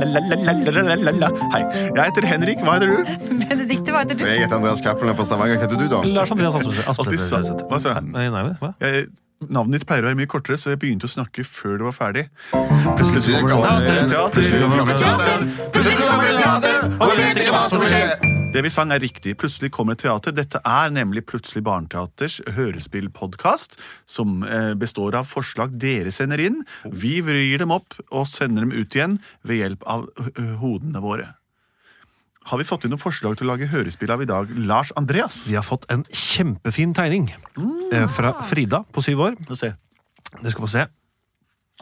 la-la-la-la-la-la-la-la. Hei, jeg heter Henrik. Hva heter du? Benedikte, hva heter du? Jeg heter Andreas Cappelen fra Stavanger. Hva heter du, da? Lars Andreas Asmus- Alltid Asmus. sant. Asmus- Hva sa jeg? Nei, nei, hva? Jeg, navnet ditt pleier å være mye kortere, så jeg begynte å snakke før det var ferdig. Plutselig så kommer det Plutselig teater. kommer det teater. Plutselig kommer det teater, og vi vet ikke hva som vil skje. Det vi sang er riktig. Plutselig kommer et teater. Dette er nemlig Plutselig barneteaters hørespillpodkast, som eh, består av forslag dere sender inn. Vi vrir dem opp og sender dem ut igjen ved hjelp av ø, ø, hodene våre. Har vi fått inn noen forslag til å lage hørespill av i dag? Lars Andreas? Vi har fått en kjempefin tegning eh, fra Frida på syv år. Få se. Dere skal få se.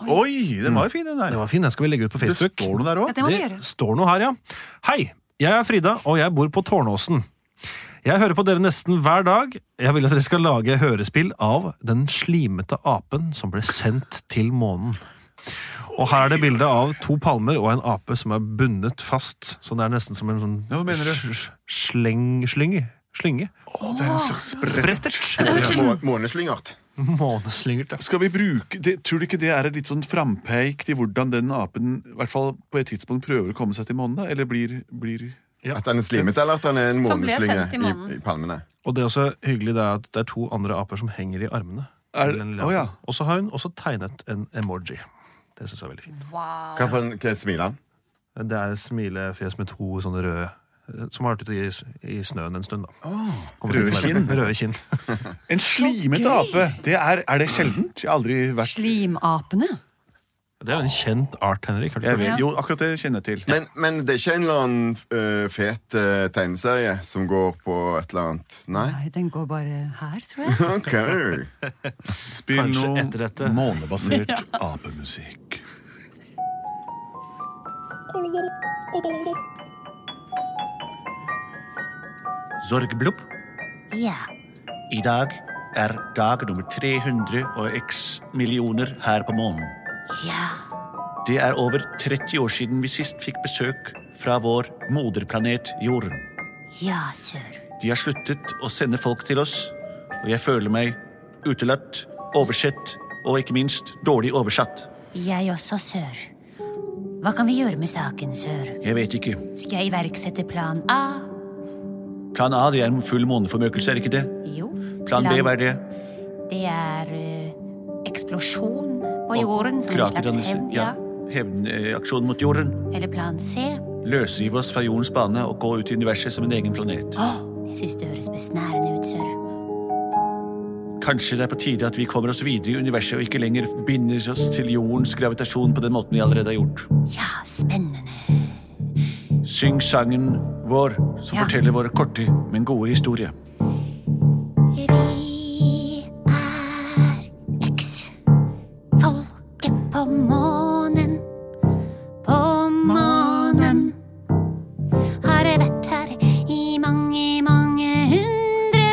Oi, den var jo fin, den der. Den var fin, den skal vi legge ut på Det Facebook. står noe der Ja, òg. det må vi Det gjøre. står noe her, ja. Hei, jeg er Frida, og jeg bor på Tårnåsen. Jeg hører på dere nesten hver dag. Jeg vil at dere skal lage hørespill av den slimete apen som ble sendt til månen. Og her er det bilde av to palmer og en ape som er bundet fast. Så det er nesten som en sånn Ja, hva mener du? sl- sl- Sleng... Slynge? Slynge? Sprettert? Må- Måneslyngert. Måneslyngert, ja. Skal vi bruke, det, Tror du ikke det er et litt sånn frampeik til hvordan den apen i hvert fall på et tidspunkt prøver å komme seg til månen? da? Eller blir, blir At han er slimete, eller at han er en Som ble måneslynge sendt i i, månen. i palmene. Og det er også hyggelig det er at det er to andre aper som henger i armene. Er- til den lille Å, ja. apen. Og så har hun også tegnet en emoji. Det syns jeg er veldig fint. Wow. Hva for en hva smiler han? Det er et smilefjes med to sånne røde eh, som har vært ute i, i snøen en stund. da. Kommer til røde å være- kinn. Røde kinn. En slimete ape! Det er, er det sjeldent? Jeg har aldri vært Slimapene. Det er jo en kjent art, Henrik. Har du jeg hørt? vet, Ja. Jo, akkurat det kjenner jeg til. Men, men det er ikke en eller annen øh, fet øh, tegneserie som går på et eller annet Nei? Nei, den går bare her, tror jeg. Ok. Spill Kanskje noe etter dette. månebasert apemusikk. Zorgblubb. Ja. I dag er dag nummer 300 og x millioner her på månen. Ja. Det er over 30 år siden vi sist fikk besøk fra vår moderplanet Jorden. Ja, sør. De har sluttet å sende folk til oss, og jeg føler meg utelatt, oversett og ikke minst dårlig oversatt. Jeg også, sør. Hva kan vi gjøre med saken, sør? Jeg vet ikke. Skal jeg iverksette plan A? Plan A det er en full måneformøkelse, er det ikke det? Jo. Plan B, hva er det? Det er eh, eksplosjon på Og jorden, som en slags krakerdannelse. hevn. Ja. Ja. Hevnaksjon mot jorden. Eller plan C. Løsrive oss fra jordens bane og gå ut i universet som en egen planet. Åh, jeg syns det høres besnærende ut, sør. Kanskje det er på tide at vi kommer oss videre i universet og ikke lenger binder oss til jordens gravitasjon på den måten vi allerede har gjort. Ja, spennende. Syng sangen vår som Ja. forteller vår korte, men gode historie. Vi er X. Folket på månen. På månen. Har vært her i mange, mange hundre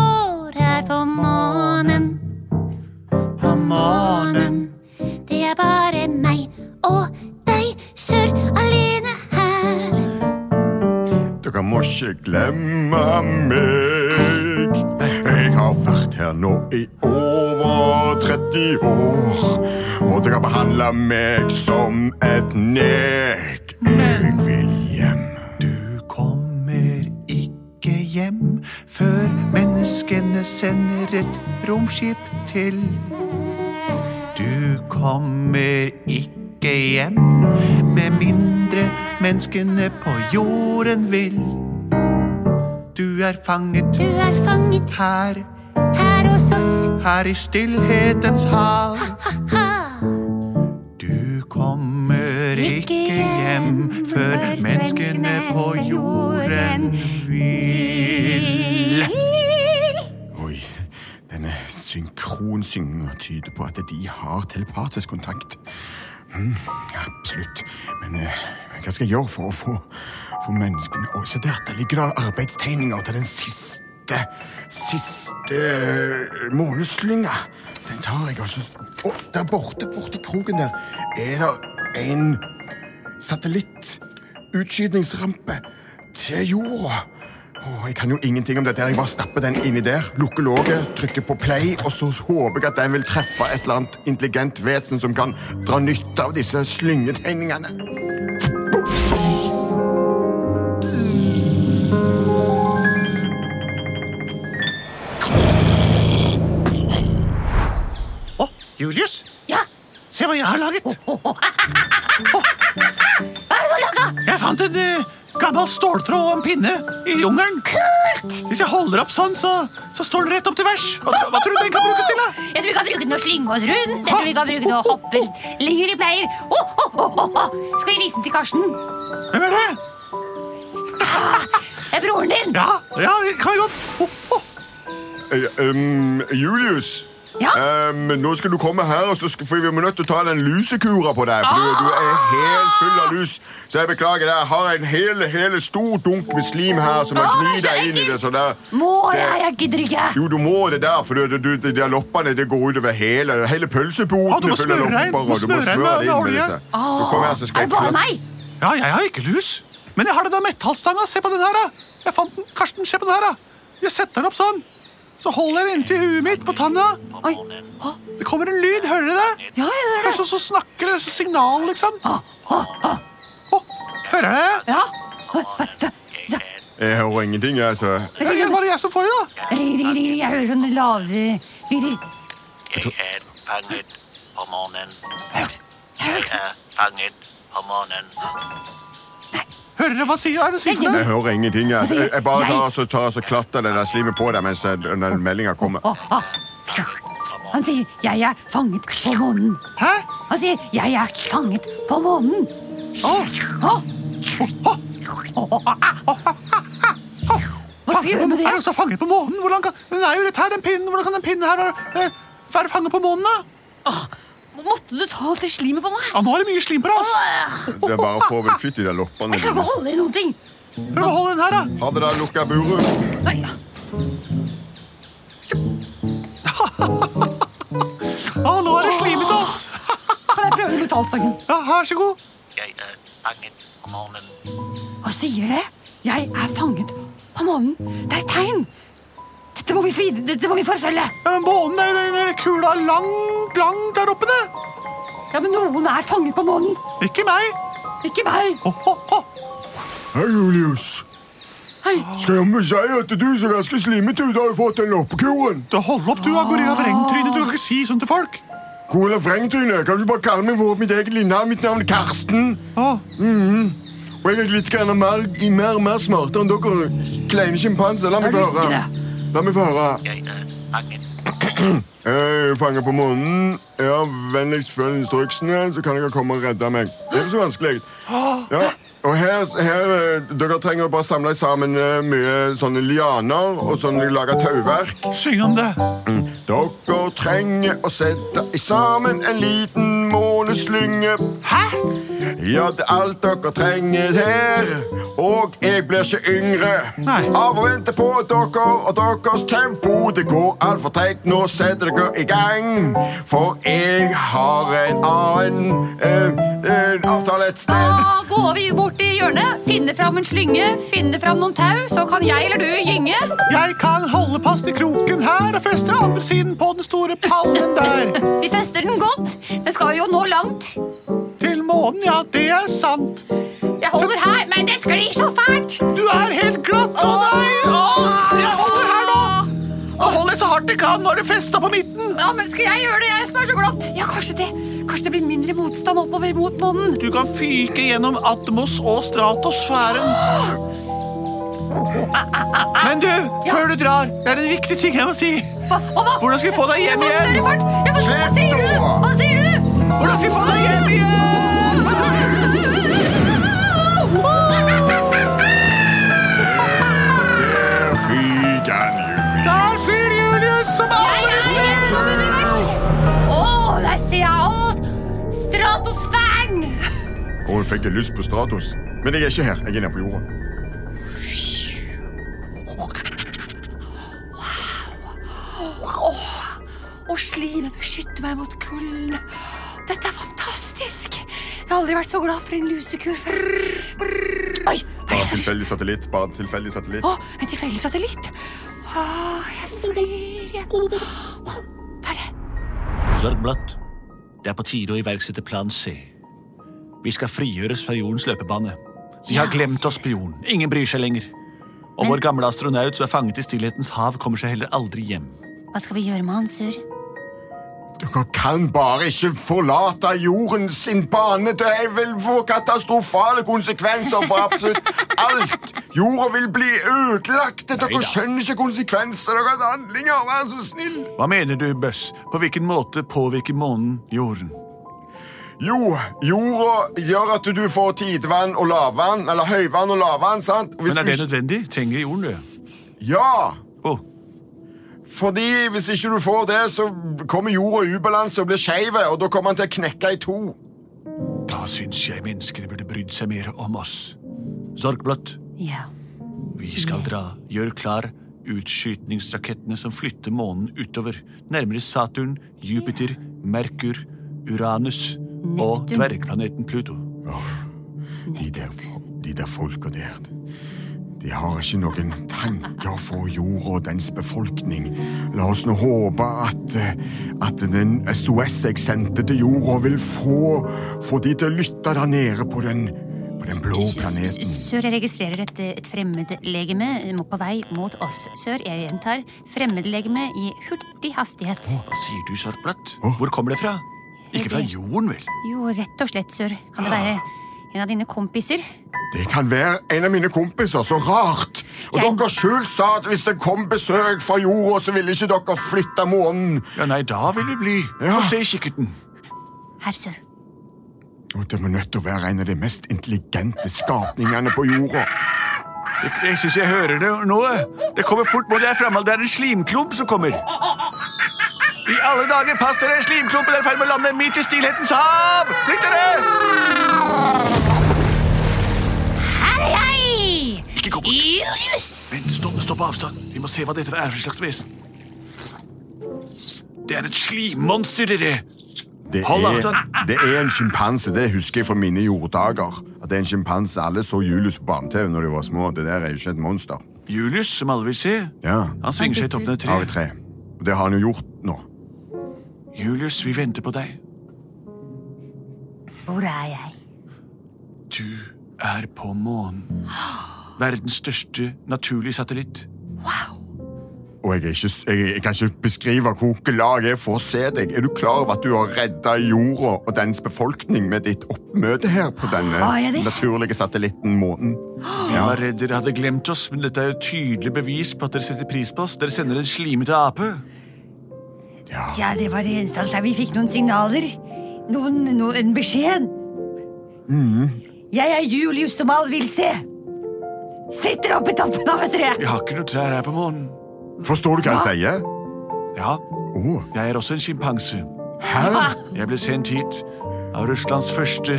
år her på månen. På månen. Det er bare meg og deg, sør, alene her. Dere må ikke glemme meg. Jeg har vært her nå i over 30 år. Og dere behandler meg som et nek. Jeg vil hjem. Du kommer ikke hjem før menneskene sender et romskip til. Du kommer ikke hjem med mindre menneskene på jorden vil. Du er fanget Du er fanget her, her hos oss. her i stillhetens hav. Ha! Du kommer ikke hjem før menneskene på jorden vil. Oi, denne synkronsynginga tyder på at de har telepatisk kontakt. Mm, absolutt. Men eh, hva skal jeg gjøre for å få for menneskene Å, se der, der ligger det arbeidstegninger til den siste siste eh, måneslynga. Den tar jeg, altså. Å, der borte, borte i kroken der, er det en satellittutskytingsrampe til jorda. Åh, jeg kan jo ingenting om dette. her. Jeg bare stapper den inni der, lukker låget, trykker på play, og så håper jeg at den vil treffe et eller annet intelligent vesen som kan dra nytte av disse slyngetegningene. Julius, Ja! se hva jeg har laget. Hva er det du har laga? Jeg fant en eh, gammel ståltråd og en pinne i jungelen. Kult! Hvis jeg holder opp sånn, så, så står den rett opp til vers. Hva, hva tror du den kan brukes til? da? Jeg tror vi kan bruke den til å slynge oss rundt. Jeg tror vi kan bruke den til å hoppe lenger i pleier. Oh, oh, oh, oh, oh. Skal vi vise den til Karsten? Hvem er det? Det er Eh, broren din! Ja, Ah, ja kan jeg godt. Ho, ho. Eh, em, Julius, Ja. em, nå skal du komme her, og så skal, for vi må nødt til å ta den lusekura på deg. For du, du er helt full av lus. Så jeg beklager det. Jeg har en hel, hele stor dunk med slim her som jeg Å, gnir det er så deg inn i. det, så der. Må jeg? Jeg gidder ikke. Jo, du må det der, for du, du, du, de der loppene det går utover hele, hele pølseboden. Å, du må smøre deg inn. er full av lopper, Du og må smøre deg med deg inn olje. disse. Så kom her, så skal er jeg det bare klø- meg? Ja, jeg har ikke lus. Men jeg har den der metallstanga. Se på den her, da. Jeg fant den. Karsten, se på den her, da. Jeg setter den opp sånn. Så holder jeg den inntil huet mitt på tanna. Oi. Det kommer en lyd, hører dere det? Ja, jeg hører Det det. er sånn som snakker, det er sånn signal, liksom. Å, hører dere? Ja. Jeg hører ingenting, jeg, så Det er bare jeg som får det, da. Ring, ring, ring. Jeg hører sånne lavere lyder. Jeg er fanget om morgenen. Hørt. Jeg er fanget om morgenen. Hører dere hva sier? Er det sier for jeg det? hører ingenting. Jeg, jeg, jeg bare Jeg- tar, så, tar, så klatter det der slimet på deg mens jeg- den meldinga kommer. Han sier 'jeg er fanget på månen'. Hæ? Han sier 'jeg er fanget på månen'. Å. Hva skal vi gjøre med Er det? det også fanget på månen? Hvordan kan... Den er jo rett her, den pinnen. Hvordan kan den pinnen her være, eh, være fanget på månen, da? Måtte du ta det slimet på meg? Ja, nå er det mye slim på deg, ass. Det er bare å få vel kvitt de der loppene Jeg klarer ikke dine. å holde i noen ting. Prøv å holde den her, da. Ha det da, lukka buret. Oi. Ja, nå er det slimete, ass. Kan jeg prøve den metallstangen? Ja, vær så god. Jeg er fanget om morgenen. Hva sier det? Jeg er fanget på månen. Det er et tegn. Dette må vi, fri- dette må vi forfølge. Ja, men månen er jo den der kula langt, langt der oppe, det. Ja, men noen er fanget på månen. Ikke meg. Ikke meg. Ho, ho, ho. Hei, Julius. Hei. Skal jeg med si at du ser ganske slimete ut? Har du fått den loppekuren? Du, hold opp, du, da, gorilla vrengtryne. Du kan ikke si sånn til folk. Gorilla Frengtryne, kan du bare kalle meg for mitt eget navn? Mitt navn er Karsten. Mhm. Å, Og jeg er litt grann mer, mer, mer smartere enn dere kleine sjimpanser. La meg Er få du høre. ikke La meg få høre. Jeg er fanget Jeg fanger på månen. Ja, Vennligst følg instruksene, så kan dere komme og redde meg. Det er ikke så vanskelig. Ja, og her, her, eh, Dere trenger å bare samle sammen eh, mye sånne lianer og sånn sånne lage tauverk. Mm. syng om det. Dere trenger å sette sammen en liten måneslynge. Hæ? Ja, det er alt dere trenger her. Og jeg blir ikke yngre Nei. av å vente på dere og deres tempo. Det går altfor treigt. Nå setter dere i gang, for jeg har en annen eh, eh, avtale et sted. Da går vi bort i hjørnet, finner fram en slynge, finner fram noen tau, så kan jeg eller du gynge. Jeg kan holde fast i kroken her og feste andre siden på den store pallen der. Vi fester den godt. Den skal jo nå langt. Til månen, ja, det er sant. Jeg holder her, men det sklir så fælt. Du er helt glatt, å nei! Å, jeg holder her nå! Og hold deg så hardt jeg kan, nå er det festa på midten. Ja, men skal jeg gjøre det, jeg som er så glatt? Ja, kanskje det. Kanskje det blir mindre motstand oppover mot månen. Du kan fyke gjennom atmos og stratosfæren. Men du, før du drar, det er en viktig ting jeg må si. Hva, hva, hva? Hvordan skal vi få deg hjem Jeg får igjen? større fart. Jeg får, hva Slipp sier du? nå. Hva sier du? Hvordan skal vi få deg hjem igjen? Der fyker han, Julie. Der fyr Julius som Jeg aldri er gjennom universet. Å, der ser jeg alt. Stratosfæren. Og jeg fikk lyst på Stratos. Men jeg er ikke her. Jeg er nede på jorda. Og slimet beskytter meg mot kulden. Dette er fantastisk. Jeg har aldri vært så glad for en lusekur før. Oi, hva er Bare det? tilfeldig satellitt. Bare tilfeldig satellitt. Å, en tilfeldig satellitt. Å, jeg flyr igjen. Å, hva er det? Sørgblått. Det er på tide å iverksette plan C. Vi skal frigjøres fra jordens løpebane. De har glemt oss på jorden. Ingen bryr seg lenger. Og vår gamle astronaut som er fanget i stillhetens hav, kommer seg heller aldri hjem. Hva skal vi gjøre med han, Sør? Dere kan bare ikke forlate jorden sin bane. Det vil få katastrofale konsekvenser for absolutt alt. Jorda vil bli ødelagt. Dere Neida. skjønner ikke konsekvenser av deres handlinger. Vær så snill. Hva mener du, Bøss? På hvilken måte påvirker månen jorden? Jo, jorda gjør at du får tidevann og lavvann, eller høyvann og lavvann, sant? Og hvis Men er du det ikke- nødvendig? Trenger jorden det? Ja! Å, Fordi hvis ikke du får det, så kommer jorda i ubalanse og blir skeiv, og da kommer han til å knekke i to. Da syns jeg menneskene burde brydd seg mer om oss. Zorgblot, Ja. vi skal dra. Gjør klar utskytningsrakettene som flytter månen utover. Nærmere Saturn, Jupiter, Merkur, Uranus og Neptun. dvergplaneten Pluto. De der, de der folka der De har ikke noen tanker for jorda og dens befolkning. La oss nå håpe at, eh, at den SOS jeg sendte til jorda, vil få, få de til å lytte der nede på den, på den blå S- planeten. s- Sør, jeg registrerer et, et fremmedlegeme må- på vei mot oss. Sør, jeg gjentar, fremmedlegeme i hurtig hastighet. Hva sier du, Zorgblot? Åh. Hvor kommer det fra? Ikke fra Jeg vet- jorden, vel? Jo, rett og slett, sør. Kan det være en av dine kompiser? Det kan være en av mine kompiser. Så rart! Og Jeg- dere sjøl sa at hvis det kom besøk fra jorda, så ville ikke dere flytte månen. Ja, nei, da vil vi bli. Ja. Få se i kikkerten. Herr sør. Og det må nødt til å være en av de mest intelligente skapningene på jorda. Jeg, jeg syns jeg hører det nå. Det kommer fort mot deg fremme. Det er en slimklump som kommer. I alle dager, pass dere! Slimklumpen er i ferd med å lande midt i stillhetens hav! Flytt dere! Her er jeg! Ikke gå bort. Julius! Vent, stopp, stopp på avstand. Vi må se hva dette er for slags vesen. Det er et slimmonster, dere! Det Hold er, avstand. det er en sjimpanse. Det husker jeg fra mine jorddager. At det er en sjimpanse. Alle så Julius på barne-TV når de var små. Det der er jo ikke et monster. Julius, som alle vil se, Ja, han svinger seg i toppen av et Av et tre. tre. Og Det har han jo gjort nå. Julius, vi venter på deg. Hvor er jeg? Du er på månen. Verdens største naturlige satellitt. Og jeg, er ikke, s- jeg, jeg kan ikke beskrive hvor glad jeg er for å se deg. Er du klar over at du har redda jorda og dens befolkning med ditt oppmøte her på Har jeg denne det? naturlige satellitten Månen? Vi var redd dere hadde glemt oss, men dette er jo tydelig bevis på at dere setter pris på oss. Dere sender en slimete ape. Ja, det var det eneste alternativet. Vi fikk noen signaler. Noen, noen en beskjed. Jeg er Julius som alle vil se. Sitter oppe i toppen av et tre. Vi har ikke noe trær her på månen. Forstår du hva jeg sier? Ja, Å, jeg er også en sjimpanse. hæ? Jeg ble sendt hit av Russlands første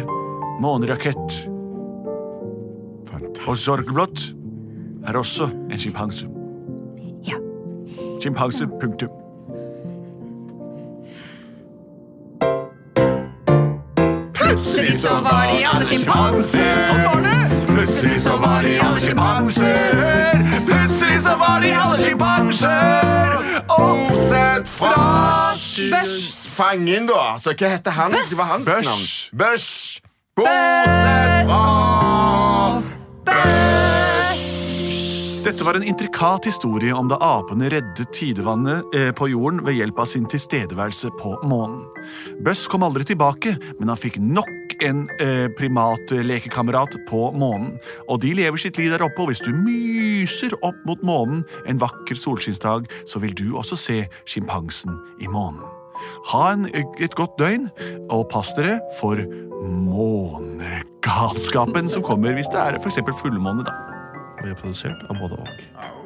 månerakett. Og Fantastisk. Zorgblot er også en sjimpanse. Ja. Sjimpanse, punktum. Plutselig så var de alle sjimpanser. Sånn var det. Plutselig så var de alle sjimpanser. Plutselig så var de alle sjimpanser. Bortsett fra Bøss. Fangen, da. Altså, hva heter han? Bøss. Hva var hans Bøss. navn? Bøss. Bortsett fra Dette var en intrikat historie om da apene reddet tidevannet eh, på jorden ved hjelp av sin tilstedeværelse på månen. Bøss kom aldri tilbake, men han fikk nok en eh, primatlekekamerat på månen. Og de lever sitt liv der oppe, og hvis du myser opp mot månen en vakker solskinnsdag, så vil du også se sjimpansen i månen. Ha en, et godt døgn, og pass dere for månegalskapen som kommer hvis det er for eksempel fullmåne, da. Vi er produsert av både og.